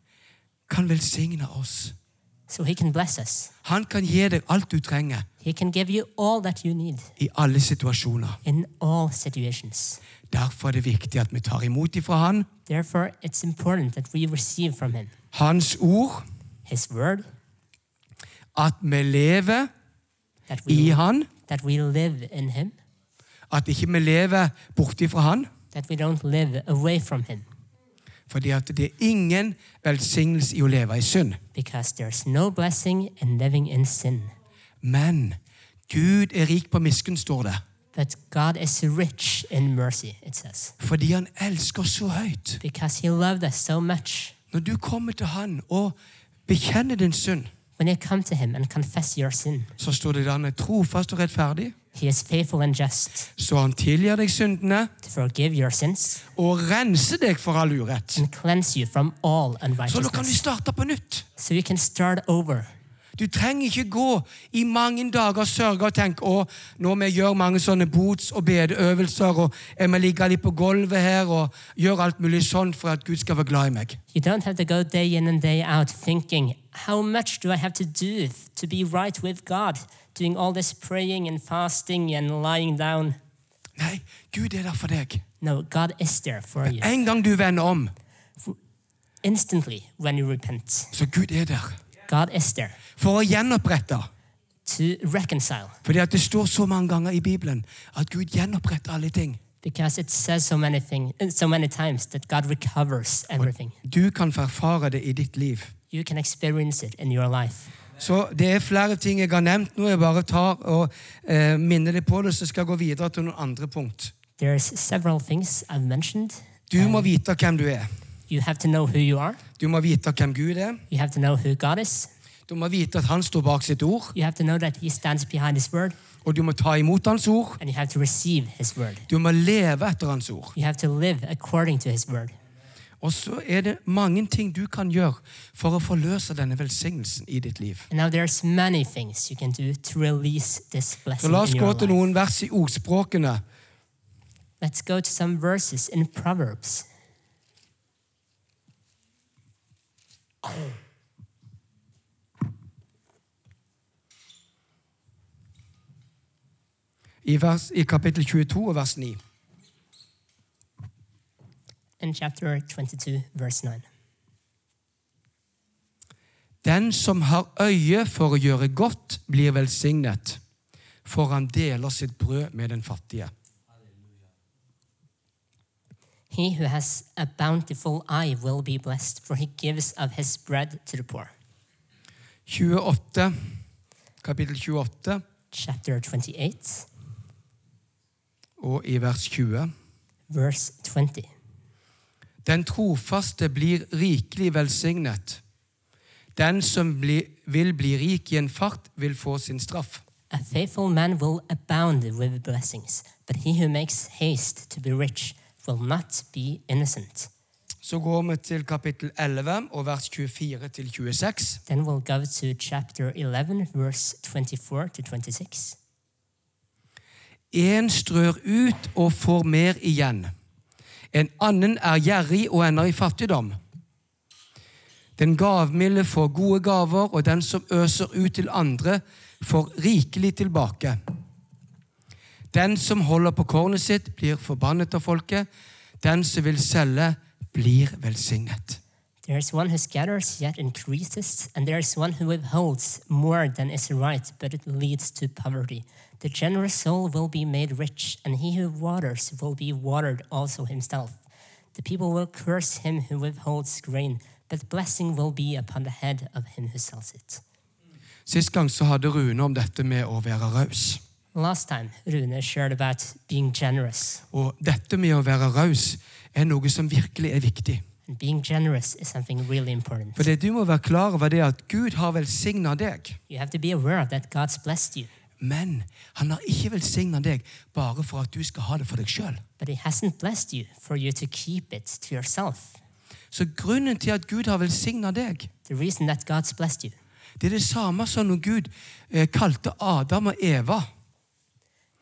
Speaker 2: kan velsigne oss.
Speaker 3: So he can bless us.
Speaker 2: Han kan gi deg alt du trenger
Speaker 3: He can give you all that you need
Speaker 2: i alle situasjoner.
Speaker 3: in all situations.
Speaker 2: Derfor er det viktig at vi tar imot ifra han,
Speaker 3: Therefore, it's important that we receive from him
Speaker 2: hans ord,
Speaker 3: his word,
Speaker 2: at vi lever
Speaker 3: that we,
Speaker 2: i han,
Speaker 3: that we live in him,
Speaker 2: at ikke vi lever borte ifra han.
Speaker 3: that we don't live away from him,
Speaker 2: Fordi at det er ingen velsignelse i å leve i synd.
Speaker 3: because there's no blessing in living in sin.
Speaker 2: Men Gud er rik på miskunn, står det.
Speaker 3: But God is rich in mercy, it says,
Speaker 2: Fordi han elsker oss så høyt.
Speaker 3: because he loved us so much.
Speaker 2: Når du kommer til han og bekjenner din synd,
Speaker 3: When you come to him and confess your sin,
Speaker 2: så står det at han er trofast og rettferdig.
Speaker 3: he is faithful and just
Speaker 2: Så han tilgir deg syndene
Speaker 3: to forgive your sins
Speaker 2: og renser deg for all urett.
Speaker 3: and cleanse you from all
Speaker 2: Så da kan du
Speaker 3: unrighteousness.
Speaker 2: starte på nytt.
Speaker 3: So you can start over.
Speaker 2: Du trenger ikke gå i mange dager og sørge og tenke å, når vi gjør mange sånne bots- og bedeøvelser, og jeg må ligge litt på gulvet her og gjøre alt mulig sånn for at Gud skal være glad i meg.
Speaker 3: You don't have to go day in and day out thinking, how much do I have to do to be right with God? Doing all this praying and fasting and lying down.
Speaker 2: Nei, Gud er der for deg.
Speaker 3: No, God is there for you
Speaker 2: En gang du vender om,
Speaker 3: instantly when you repent.
Speaker 2: så Gud er der.
Speaker 3: God is there
Speaker 2: For å gjenopprette.
Speaker 3: to reconcile
Speaker 2: Fordi at det står så mange ganger i Bibelen at Gud gjenoppretter alle ting.
Speaker 3: because it says so many thing, so many times that God recovers everything.
Speaker 2: Du kan få erfare det i ditt liv.
Speaker 3: You can experience it in your life.
Speaker 2: Så det er flere ting jeg har nevnt nå. Jeg bare tar og eh, minner deg på det, så skal jeg gå videre til noen andre punkt.
Speaker 3: There's several things I've mentioned.
Speaker 2: Du må vite hvem du er.
Speaker 3: You have to know who you are.
Speaker 2: Du må vite hvem Gud er.
Speaker 3: You have to know who God is.
Speaker 2: Du må vite at han står bak sitt ord,
Speaker 3: You have to know that He stands behind His word,
Speaker 2: og du må ta imot hans ord.
Speaker 3: and you have to receive His word.
Speaker 2: Du må leve etter hans ord.
Speaker 3: You have to live according to His word.
Speaker 2: Og så er det mange ting du kan gjøre for å forløse denne velsignelsen i ditt liv.
Speaker 3: And now there's many things you can do to release this
Speaker 2: Så
Speaker 3: blessing
Speaker 2: la oss
Speaker 3: in
Speaker 2: gå
Speaker 3: your
Speaker 2: til
Speaker 3: life.
Speaker 2: noen vers i ordspråkene.
Speaker 3: Let's go to some verses in Proverbs.
Speaker 2: I, vers, i kapittel 22 og vers 9.
Speaker 3: In chapter 22, verse 9.
Speaker 2: Den som har øye for å gjøre godt, blir velsignet, for han deler sitt brød med den fattige.
Speaker 3: He who has a bountiful eye will be blessed, for he gives of his bread to the poor.
Speaker 2: 28, kapittel 28
Speaker 3: Chapter 28,
Speaker 2: og i vers 20.
Speaker 3: verse 20.
Speaker 2: Den trofaste blir rikelig velsignet. Den som bli, vil bli rik i en fart, vil få sin straff.
Speaker 3: A faithful man will abound with blessings, but he who makes haste to be rich will not be innocent.
Speaker 2: Så går vi til kapittel 11 og vers 24 til 26.
Speaker 3: Then we'll go to chapter 11, verse 24 to 26.
Speaker 2: En strør ut og får mer igjen. En annen er gjerrig og ender i fattigdom. Den gavmilde får gode gaver, og den som øser ut til andre, får rikelig tilbake. Den som holder på kornet sitt, blir forbannet av folket. Den som vil selge, blir velsignet.
Speaker 3: There is one who scatters yet increases, and there is one who withholds more than is right, but it leads to poverty. The generous soul will be made rich, and he who waters will be watered also himself. The people will curse him who withholds grain, but blessing will be upon the head of him who sells it.
Speaker 2: Sist gang så hadde Rune om dette med å være raus.
Speaker 3: Last time, Rune shared about being generous,
Speaker 2: Og dette med å være raus er noe som virkelig er viktig.
Speaker 3: and being generous is something really important.
Speaker 2: For det du må være klar over, det er at Gud har velsigna deg.
Speaker 3: You have to be aware of that God's blessed you,
Speaker 2: Men han har ikke velsigna deg bare for at du skal ha det for deg sjøl.
Speaker 3: but He hasn't blessed you for you to keep it to yourself.
Speaker 2: Så grunnen til at Gud har velsigna deg,
Speaker 3: the reason that God's blessed you.
Speaker 2: det er det samme som når Gud eh, kalte Adam og Eva.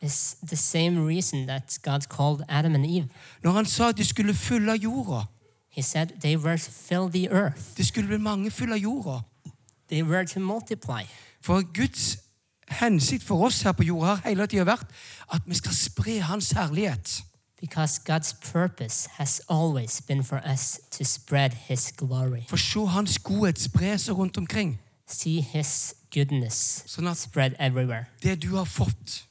Speaker 3: It's the same reason that God called Adam and Eve.
Speaker 2: Når han sa at de skulle fylle jorda.
Speaker 3: He said they were to fill the earth,
Speaker 2: Det skulle bli mange fylle jorda.
Speaker 3: they were to multiply.
Speaker 2: For Guds hensikt for oss her på jorda har hele tida vært at vi skal spre Hans herlighet.
Speaker 3: Because God's purpose has always been for us to spread His glory,
Speaker 2: For se Hans godhet spre seg rundt omkring.
Speaker 3: see His goodness
Speaker 2: Sånn at
Speaker 3: spread everywhere,
Speaker 2: det du har fått,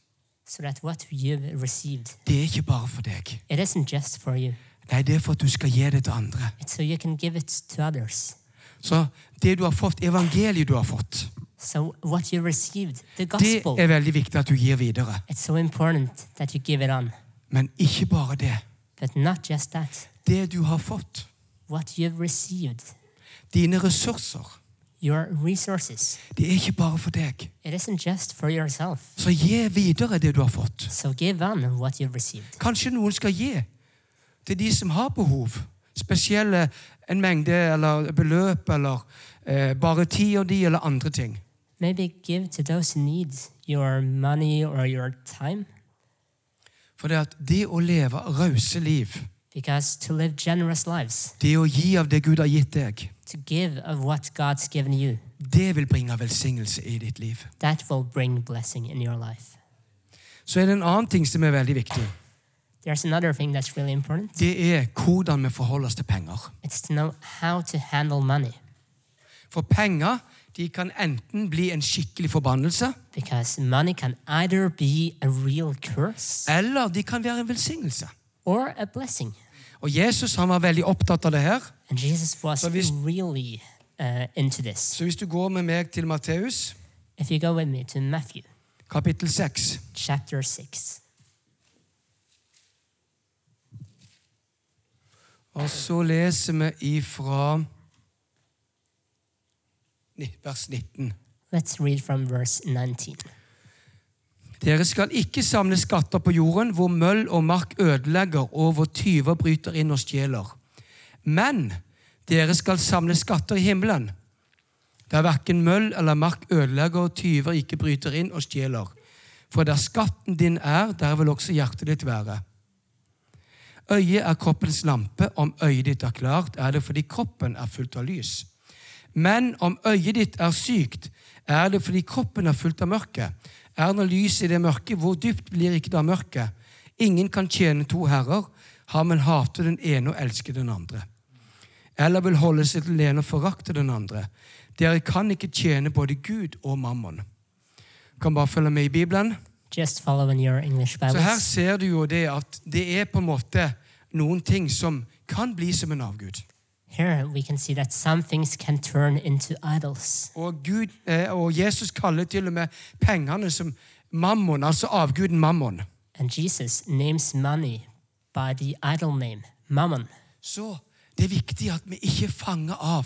Speaker 3: so that what you've received,
Speaker 2: det er ikke bare for deg.
Speaker 3: it isn't just for you,
Speaker 2: Nei, det er for at du skal gi det til andre.
Speaker 3: it's so you can give it to others.
Speaker 2: Så det du har fått, evangeliet du har fått,
Speaker 3: So, what you received, the
Speaker 2: det
Speaker 3: gospel,
Speaker 2: er veldig viktig at du gir videre.
Speaker 3: it's so important that you give it on.
Speaker 2: Men ikke bare det.
Speaker 3: But not just that,
Speaker 2: Det du har fått,
Speaker 3: what you've received,
Speaker 2: dine ressurser,
Speaker 3: your resources.
Speaker 2: det er ikke bare for deg.
Speaker 3: It isn't just for yourself.
Speaker 2: Så gi videre det du har fått.
Speaker 3: So give on what you've received.
Speaker 2: Kanskje noen skal gi til de som har behov. Spesielle en mengde eller beløp eller eh, bare tida di eller andre ting.
Speaker 3: Maybe give to those who need your money or your time,
Speaker 2: For det, at det å leve rause liv,
Speaker 3: because to live generous lives,
Speaker 2: det å gi av det Gud har gitt deg,
Speaker 3: to give of what God's given you,
Speaker 2: det vil bringe velsignelse i ditt liv.
Speaker 3: that will bring blessing in your life.
Speaker 2: Så er det en annen ting som er veldig viktig.
Speaker 3: There's another thing that's really important.
Speaker 2: Det er hvordan vi forholder oss til penger.
Speaker 3: It's to know how to handle money,
Speaker 2: For penger de kan enten bli en skikkelig forbannelse,
Speaker 3: because money can either be a real curse
Speaker 2: eller de kan være en velsignelse.
Speaker 3: or a blessing.
Speaker 2: Og Jesus han var veldig opptatt av det her.
Speaker 3: And Jesus was
Speaker 2: Så hvis-
Speaker 3: really uh, into this.
Speaker 2: Så hvis du går med meg til Matteus,
Speaker 3: If you go with me to Matthew
Speaker 2: kapittel 6,
Speaker 3: chapter 6,
Speaker 2: og så leser vi ifra ni- vers 19.
Speaker 3: let's read from verse 19.
Speaker 2: Dere skal ikke samle skatter på jorden, hvor møll og mark ødelegger, og hvor tyver bryter inn og stjeler. Men dere skal samle skatter i himmelen, der verken møll eller mark ødelegger og tyver ikke bryter inn og stjeler. For der skatten din er, der vil også hjertet ditt være. Øyet er kroppens lampe. Om øyet ditt er klart, er det fordi kroppen er fullt av lys. Men om øyet ditt er sykt, er det fordi kroppen er fullt av mørke. Er det lys i det mørke, hvor dypt blir ikke da mørket? Ingen kan tjene to herrer. Har man hater den ene og elsker den andre? Eller vil holde seg til den ene og forakte den andre? Dere kan ikke tjene både Gud og mammon. Kan bare følge med i Bibelen.
Speaker 3: Just follow in your English
Speaker 2: Så her
Speaker 3: Bibles.
Speaker 2: ser du jo det at det er på en måte noen ting som kan bli som en avgud.
Speaker 3: Here we can see that some things can turn into idols.
Speaker 2: Og, Gud, eh, og Jesus kaller til og med pengene som mammon, altså avguden mammon.
Speaker 3: And Jesus names money by the idol name, Mammon.
Speaker 2: Så det er viktig at vi ikke er fanget av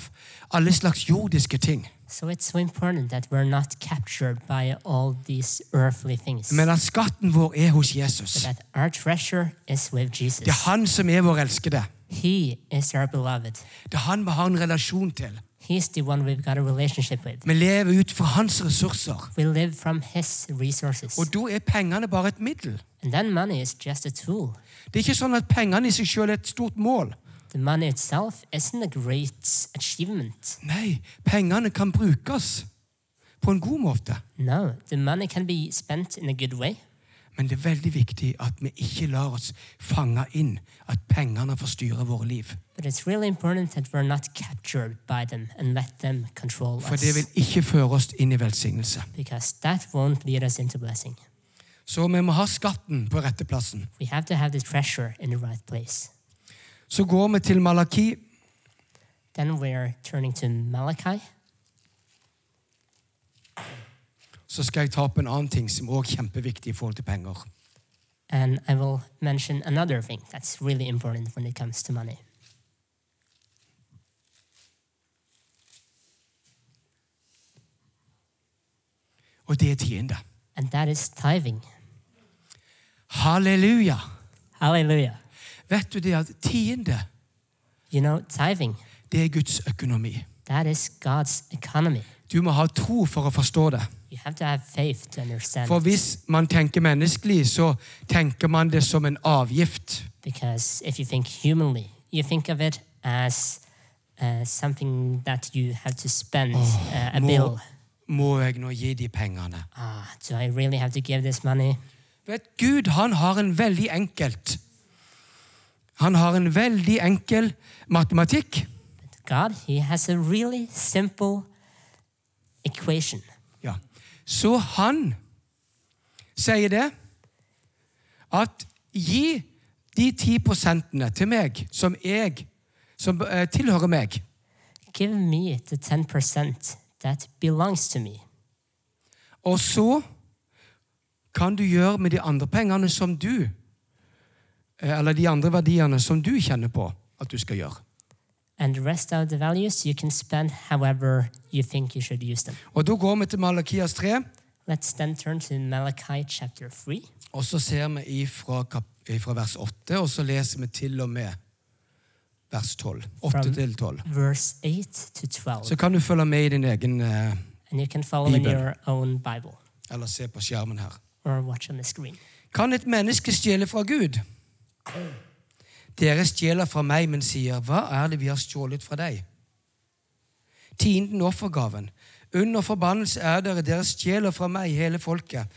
Speaker 2: alle slags jordiske ting,
Speaker 3: So it's so important that we're not captured by all these earthly things.
Speaker 2: men at skatten vår er hos Jesus.
Speaker 3: That our treasure is with Jesus.
Speaker 2: Det er han som er vår elskede.
Speaker 3: He is our beloved.
Speaker 2: Det er han vi har en relasjon til.
Speaker 3: He's the one we've got a relationship with.
Speaker 2: Vi lever ut fra hans ressurser.
Speaker 3: We live from His resources.
Speaker 2: Og da er pengene bare et middel.
Speaker 3: And then money is just a tool.
Speaker 2: Det er ikke sånn at pengene i seg selv er et stort mål.
Speaker 3: The money itself isn't a great achievement.
Speaker 2: Nei, pengene kan brukes på en god måte.
Speaker 3: No, the money can be spent in a good way.
Speaker 2: Men det er veldig viktig at vi ikke lar oss fange inn at pengene får styre våre liv.
Speaker 3: But it's really important that we're not captured by them and let them control
Speaker 2: For
Speaker 3: us.
Speaker 2: det vil ikke føre oss inn i velsignelse.
Speaker 3: Because that won't lead us into blessing.
Speaker 2: Så vi må ha skatten på rette plassen.
Speaker 3: We have to have the treasure in the right place.
Speaker 2: Så går vi til Malaki,
Speaker 3: Then we're turning to Malachi.
Speaker 2: så skal jeg ta opp en annen ting som også er kjempeviktig i forhold til penger.
Speaker 3: And I will mention another thing that's really important when it comes to money.
Speaker 2: Og det er tiende.
Speaker 3: And that is tithing.
Speaker 2: Halleluja!
Speaker 3: Hallelujah.
Speaker 2: Vet du det at tiende,
Speaker 3: You know, tithing,
Speaker 2: det er Guds økonomi.
Speaker 3: that is God's economy.
Speaker 2: Du må ha tro for å forstå det.
Speaker 3: You have to have faith to understand
Speaker 2: For
Speaker 3: it.
Speaker 2: hvis man tenker menneskelig, så tenker man det som en avgift.
Speaker 3: Because if you think humanly, you think of it as uh, something that you have to spend, uh, a
Speaker 2: Må,
Speaker 3: bill.
Speaker 2: må jeg nå gi de pengene?
Speaker 3: Ah, do I really have to give this money?
Speaker 2: Vet, Gud han har en veldig enkelt Han har en veldig enkel matematikk.
Speaker 3: But God, He has a really simple equation.
Speaker 2: Ja. Så han sier det at gi de ti prosentene til meg som jeg som eh, tilhører meg.
Speaker 3: Give me the 10% that belongs to me.
Speaker 2: Og så kan du gjøre med de andre pengene som du eh, Eller de andre verdiene som du kjenner på at du skal gjøre.
Speaker 3: And the rest of the values you can spend however you think you should use them.
Speaker 2: Og da går vi til Malakias 3,
Speaker 3: Let's then turn to Malachi chapter 3.
Speaker 2: og så ser vi ifra, kap, ifra vers 8, og så leser vi til og med vers 12. 8
Speaker 3: Fram.
Speaker 2: til 12.
Speaker 3: verse 8 to 12.
Speaker 2: Så kan du følge med i din egen eh,
Speaker 3: and you can follow in
Speaker 2: Bibel.
Speaker 3: your own Bible
Speaker 2: Eller se på skjermen her.
Speaker 3: or watch on the screen.
Speaker 2: Kan et menneske stjele fra Gud? Dere stjeler fra meg, men sier, hva er det vi har stjålet fra deg? Tienden offergaven. Under forbannelse er dere, dere stjeler fra meg, hele folket.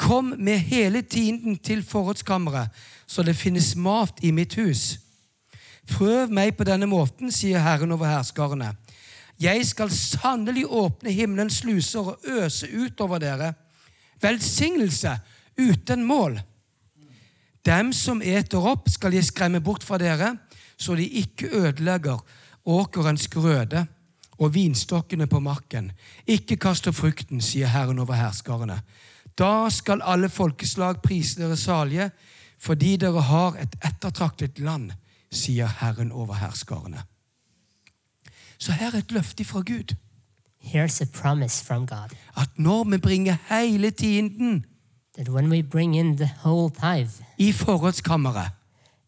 Speaker 2: Kom med hele tienden til forrådskammeret, så det finnes mat i mitt hus. Prøv meg på denne måten, sier Herren over herskarene. Jeg skal sannelig åpne himmelens sluser og øse utover dere velsignelse uten mål. Dem som eter opp, skal jeg skremme bort fra dere, så de ikke ødelegger åkerens grøde og vinstokkene på marken. Ikke kast opp frukten, sier Herren over herskarene. Da skal alle folkeslag prise dere salige, fordi dere har et ettertraktet land, sier Herren over herskarene. Så her er et løfte fra Gud.
Speaker 3: Here's a promise from God
Speaker 2: At når vi bringer hele tienden
Speaker 3: that when we bring in the whole tithe
Speaker 2: i forrådskammeret,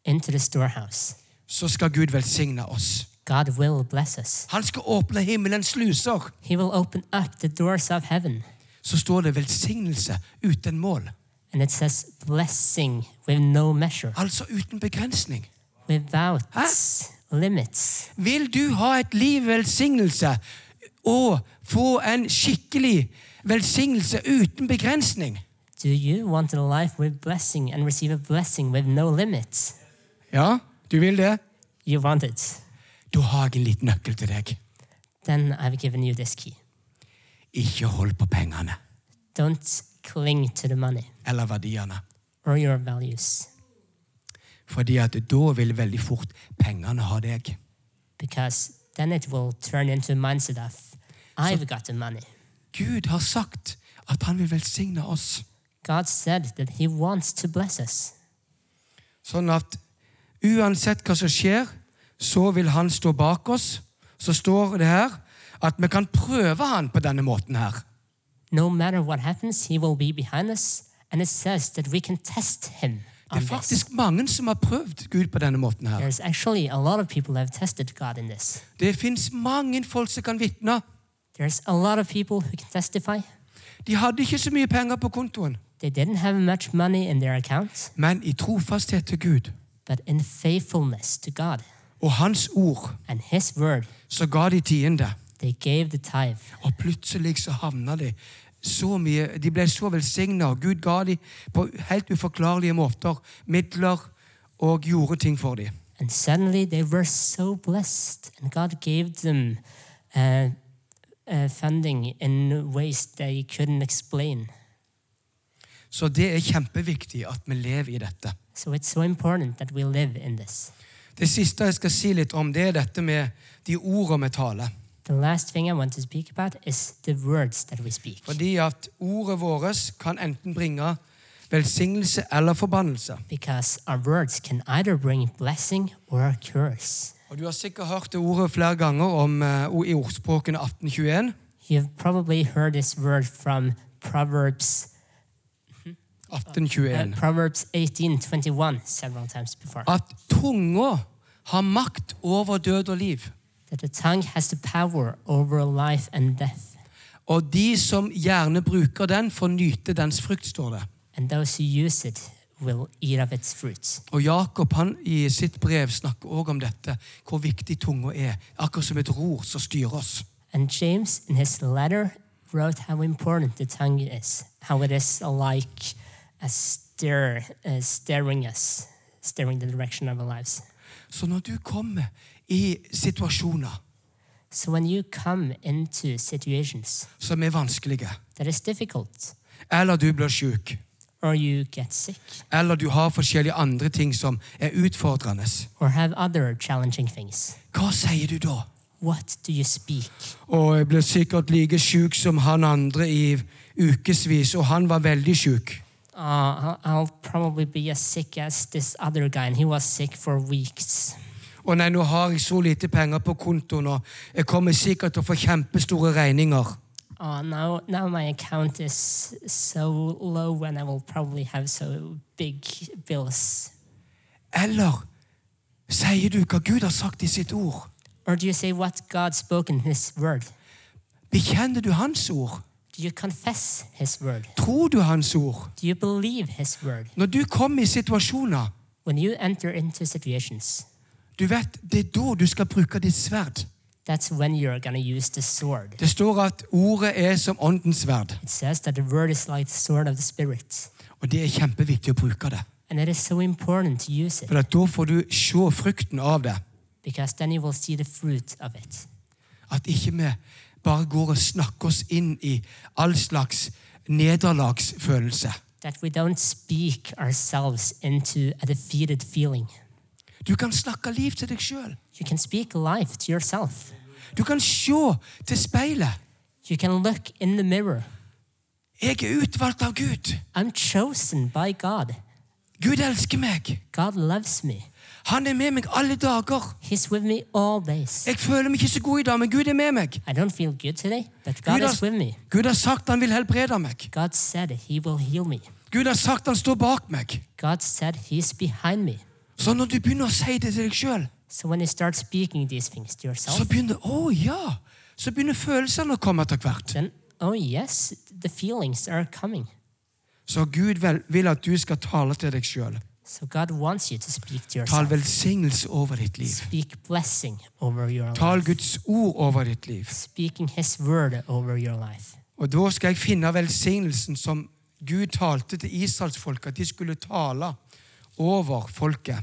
Speaker 3: into the storehouse,
Speaker 2: så skal Gud velsigne oss.
Speaker 3: God will bless us.
Speaker 2: Han skal åpne himmelens sluser.
Speaker 3: He will open up the doors of heaven.
Speaker 2: Så står det velsignelse uten mål.
Speaker 3: And it says blessing with no measure,
Speaker 2: Altså uten begrensning.
Speaker 3: without
Speaker 2: Huh?
Speaker 3: limits.
Speaker 2: Vil du ha et liv i velsignelse og få en skikkelig velsignelse uten begrensning?
Speaker 3: Do you want a life with blessing and receive a blessing with no limits?
Speaker 2: Ja, du vil det?
Speaker 3: You want it.
Speaker 2: Da har jeg en liten nøkkel til deg.
Speaker 3: Then I've given you this key.
Speaker 2: Ikke hold på pengene
Speaker 3: Don't cling to the money
Speaker 2: eller verdiene.
Speaker 3: or your values
Speaker 2: Fordi at da vil veldig fort pengene ha deg.
Speaker 3: because then it will turn into a mindset of, I've got the money.
Speaker 2: Gud har sagt at han vil velsigne oss.
Speaker 3: God said that He wants to bless us.
Speaker 2: Sånn at uansett hva som skjer, så vil han stå bak oss. Så står det her at vi kan prøve han på denne måten her.
Speaker 3: No matter what happens, He will be behind us. And it says that we can test Him.
Speaker 2: Det
Speaker 3: On
Speaker 2: er
Speaker 3: this.
Speaker 2: faktisk mange som har prøvd Gud på denne måten her.
Speaker 3: There's actually a lot of people who have tested God in this.
Speaker 2: Det fins mange folk som kan vitne.
Speaker 3: There's a lot of people who can testify.
Speaker 2: De hadde ikke så mye penger på kontoen,
Speaker 3: They didn't have much money in their account,
Speaker 2: men i trofasthet til Gud
Speaker 3: but in faithfulness to God
Speaker 2: og Hans ord
Speaker 3: and His word,
Speaker 2: så ga de tiende.
Speaker 3: they gave the tithe.
Speaker 2: Og plutselig så havna de så mye De ble så velsigna, og Gud ga dem på helt uforklarlige måter midler og gjorde ting for dem.
Speaker 3: And suddenly they were so blessed, and God gave them uh, uh, funding in ways they couldn't explain.
Speaker 2: Så det er kjempeviktig at vi lever i dette.
Speaker 3: So it's so important that we live in this.
Speaker 2: Det siste jeg skal si litt om, det er dette med de ordene vi taler.
Speaker 3: The last thing I want to speak about is the words that we speak.
Speaker 2: Fordi at ordet vårt kan enten bringe velsignelse eller forbannelse.
Speaker 3: Because our words can either bring blessing or a curse.
Speaker 2: Og Du har sikkert hørt det ordet flere ganger om, eh, o- i ordspråkene 1821.
Speaker 3: You've probably heard this word from Proverbs uh,
Speaker 2: 1821.
Speaker 3: Proverbs 18:21 several times before.
Speaker 2: At tunga har makt over død og liv.
Speaker 3: That the tongue has the power over life and death,
Speaker 2: Og de som gjerne bruker den, får nyte dens frukt, står det.
Speaker 3: and those who use it will eat of its fruits.
Speaker 2: Og Jakob han i sitt brev snakker også om dette, hvor viktig tunga er. Akkurat som et ror som styrer oss.
Speaker 3: And James in his letter wrote how important the tongue is, how it is like a steer uh, steering us, steering the direction of our lives.
Speaker 2: Så når du kommer i situasjoner
Speaker 3: So when you come into situations
Speaker 2: som er vanskelige,
Speaker 3: that is difficult,
Speaker 2: eller du blir syk,
Speaker 3: or you get sick,
Speaker 2: eller du har forskjellige andre ting som er utfordrende,
Speaker 3: or have other challenging things,
Speaker 2: hva sier du da?
Speaker 3: what do you speak?
Speaker 2: Å, jeg blir sikkert like syk som han andre i ukevis, og han var veldig syk.
Speaker 3: Uh, I'll, I'll probably be as sick as this other guy, and he was sick for weeks.
Speaker 2: Å nei, nå har jeg så lite penger på kontoen, og jeg kommer sikkert til å få kjempestore regninger.
Speaker 3: Uh, now, now my account is so low, and I will probably have so big bills.
Speaker 2: Eller sier du hva Gud har sagt i sitt ord?
Speaker 3: Or do you say what God spoke in His Word?
Speaker 2: Bekjenner du Hans ord?
Speaker 3: Do you confess His Word?
Speaker 2: Tror du Hans ord?
Speaker 3: Do you believe His Word?
Speaker 2: Når du kommer i situasjoner,
Speaker 3: When you enter into situations,
Speaker 2: du vet, det er da du skal bruke ditt sverd.
Speaker 3: that's when you're gonna use the sword.
Speaker 2: Det står at ordet er som åndens sverd,
Speaker 3: It says that the word is like the sword of the spirit,
Speaker 2: og det er kjempeviktig å bruke det.
Speaker 3: and it is so important to use it
Speaker 2: For at da får du se frukten av det.
Speaker 3: because then you will see the fruit of it.
Speaker 2: At ikke vi bare går og snakker oss inn i all slags nederlagsfølelse.
Speaker 3: That we don't speak ourselves into a defeated feeling.
Speaker 2: Du kan snakke liv til deg sjøl.
Speaker 3: You can speak life to yourself.
Speaker 2: Du kan se til speilet.
Speaker 3: You can look in the mirror.
Speaker 2: Jeg er utvalgt av Gud.
Speaker 3: I'm chosen by God.
Speaker 2: Gud elsker meg.
Speaker 3: God loves me.
Speaker 2: Han er med meg alle dager.
Speaker 3: He's with me all days.
Speaker 2: Jeg føler meg ikke så god i dag, men Gud er med meg.
Speaker 3: I don't feel good today, but God
Speaker 2: Gud
Speaker 3: is with
Speaker 2: har,
Speaker 3: me.
Speaker 2: Gud har sagt han vil helbrede meg.
Speaker 3: God said He will heal me.
Speaker 2: Gud har sagt han står bak meg.
Speaker 3: God said He's behind me.
Speaker 2: Så når du begynner å si det til deg sjøl,
Speaker 3: So when you start speaking these things to yourself,
Speaker 2: så begynner å ja, så begynner følelsene å komme etter hvert.
Speaker 3: then oh yes, the feelings are coming.
Speaker 2: Så Gud vel, vil at du skal tale til deg sjøl.
Speaker 3: So God wants you to speak to
Speaker 2: Tal
Speaker 3: yourself.
Speaker 2: velsignelse over ditt liv.
Speaker 3: Speak blessing over your life.
Speaker 2: Tal Guds ord over ditt liv.
Speaker 3: Speaking His word over your life.
Speaker 2: Og da skal jeg finne velsignelsen som Gud talte til israelsfolket, at de skulle tale over folket.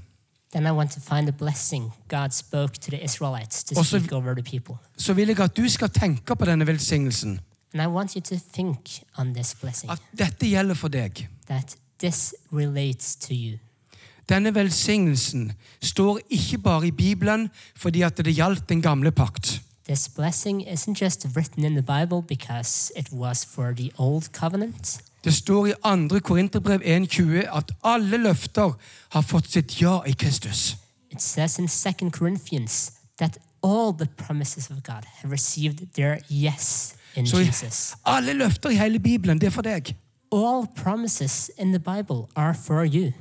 Speaker 3: Then I want to find the blessing God spoke to the Israelites to
Speaker 2: Also-
Speaker 3: speak over the people.
Speaker 2: Så vil jeg at du skal tenke på denne velsignelsen.
Speaker 3: And I want you to think on this blessing,
Speaker 2: At dette gjelder for deg.
Speaker 3: that this relates to you.
Speaker 2: Denne velsignelsen står ikke bare i Bibelen fordi at det gjaldt den gamle pakt.
Speaker 3: This blessing isn't just written in the Bible because it was for the old covenant.
Speaker 2: Det står i 2. Korinterbrev 1,20 at alle løfter har fått sitt ja i Kristus.
Speaker 3: It says in 2 Corinthians that all the promises of God have received their yes in
Speaker 2: Så i-
Speaker 3: Jesus.
Speaker 2: alle løfter i hele Bibelen, det er for deg.
Speaker 3: All promises in the Bible are for you.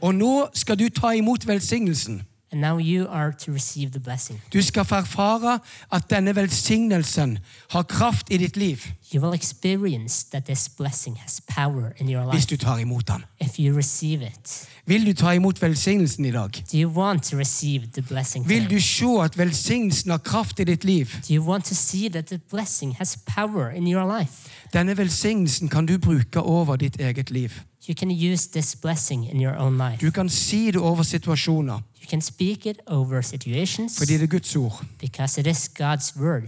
Speaker 2: Og nå skal du ta imot velsignelsen.
Speaker 3: And now you are to receive the blessing.
Speaker 2: Du skal få erfare at denne velsignelsen har kraft i ditt liv
Speaker 3: You will experience that this blessing has power in your life
Speaker 2: hvis du tar imot den.
Speaker 3: if you receive it.
Speaker 2: Vil du ta imot velsignelsen i dag?
Speaker 3: Do you want to receive the blessing?
Speaker 2: Vil
Speaker 3: today?
Speaker 2: du se at velsignelsen har kraft i ditt liv?
Speaker 3: Do you want to see that the blessing has power in your life?
Speaker 2: Denne velsignelsen kan du bruke over ditt eget liv.
Speaker 3: You can use this blessing in your own life.
Speaker 2: Du kan si det over situasjoner,
Speaker 3: You can speak it over situations
Speaker 2: fordi det er Guds ord.
Speaker 3: because it is God's word.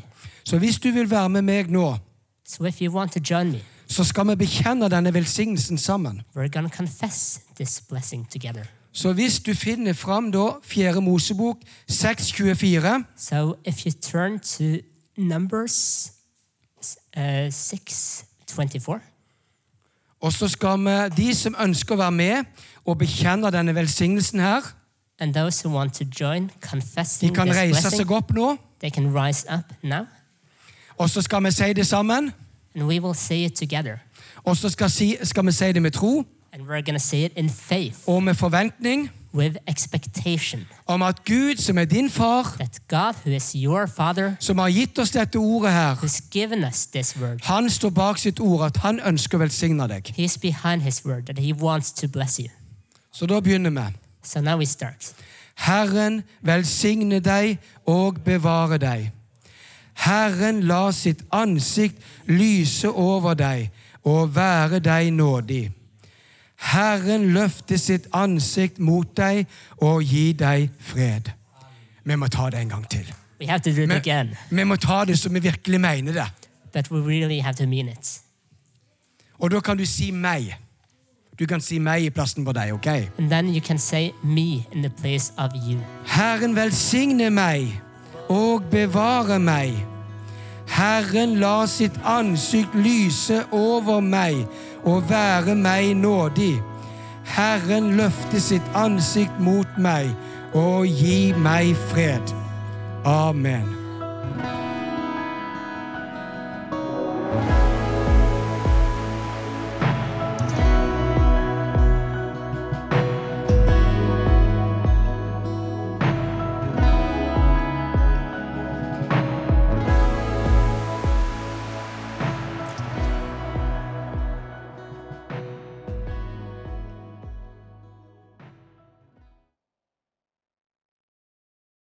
Speaker 2: Så hvis du vil være med meg nå,
Speaker 3: So if you want to join me,
Speaker 2: så skal vi bekjenne denne velsignelsen sammen.
Speaker 3: we're going to confess this blessing together.
Speaker 2: Så hvis du finner fram da 4. Mosebok 624,
Speaker 3: So if you turn to Numbers uh, 6 24,
Speaker 2: og så skal vi, de som ønsker å være med og bekjenne denne velsignelsen her,
Speaker 3: and those who want to join
Speaker 2: de
Speaker 3: confessing
Speaker 2: kan
Speaker 3: this
Speaker 2: reise
Speaker 3: Mm, blessing,
Speaker 2: seg opp nå,
Speaker 3: they can rise up now
Speaker 2: og så skal vi si det sammen,
Speaker 3: and we will say it together.
Speaker 2: og så skal, si, skal vi si det med tro
Speaker 3: And we're going to say it in faith
Speaker 2: og med forventning
Speaker 3: with expectation
Speaker 2: om at Gud, som er din far,
Speaker 3: that God, who is your Father,
Speaker 2: som har gitt oss dette ordet her,
Speaker 3: who's given us this word,
Speaker 2: han står bak sitt ord, at han ønsker å velsigne deg.
Speaker 3: He's behind His word, that He wants to bless you.
Speaker 2: Så da begynner vi.
Speaker 3: So now we start.
Speaker 2: Herren velsigne deg og bevare deg. Herren la sitt ansikt lyse over deg og være deg nådig. Herren løfte sitt ansikt mot deg og gi deg fred. Vi må ta det en gang til.
Speaker 3: We have to do it
Speaker 2: Vi,
Speaker 3: again,
Speaker 2: vi må ta det som vi virkelig mener det.
Speaker 3: but we really have to mean it.
Speaker 2: Og da kan du si meg. Du kan si meg i plassen på deg, OK?
Speaker 3: And then you can say me in the place of you.
Speaker 2: Herren velsigne meg og bevare meg. Herren la sitt ansikt lyse over meg og være meg nådig. Herren løfte sitt ansikt mot meg og gi meg fred. Amen.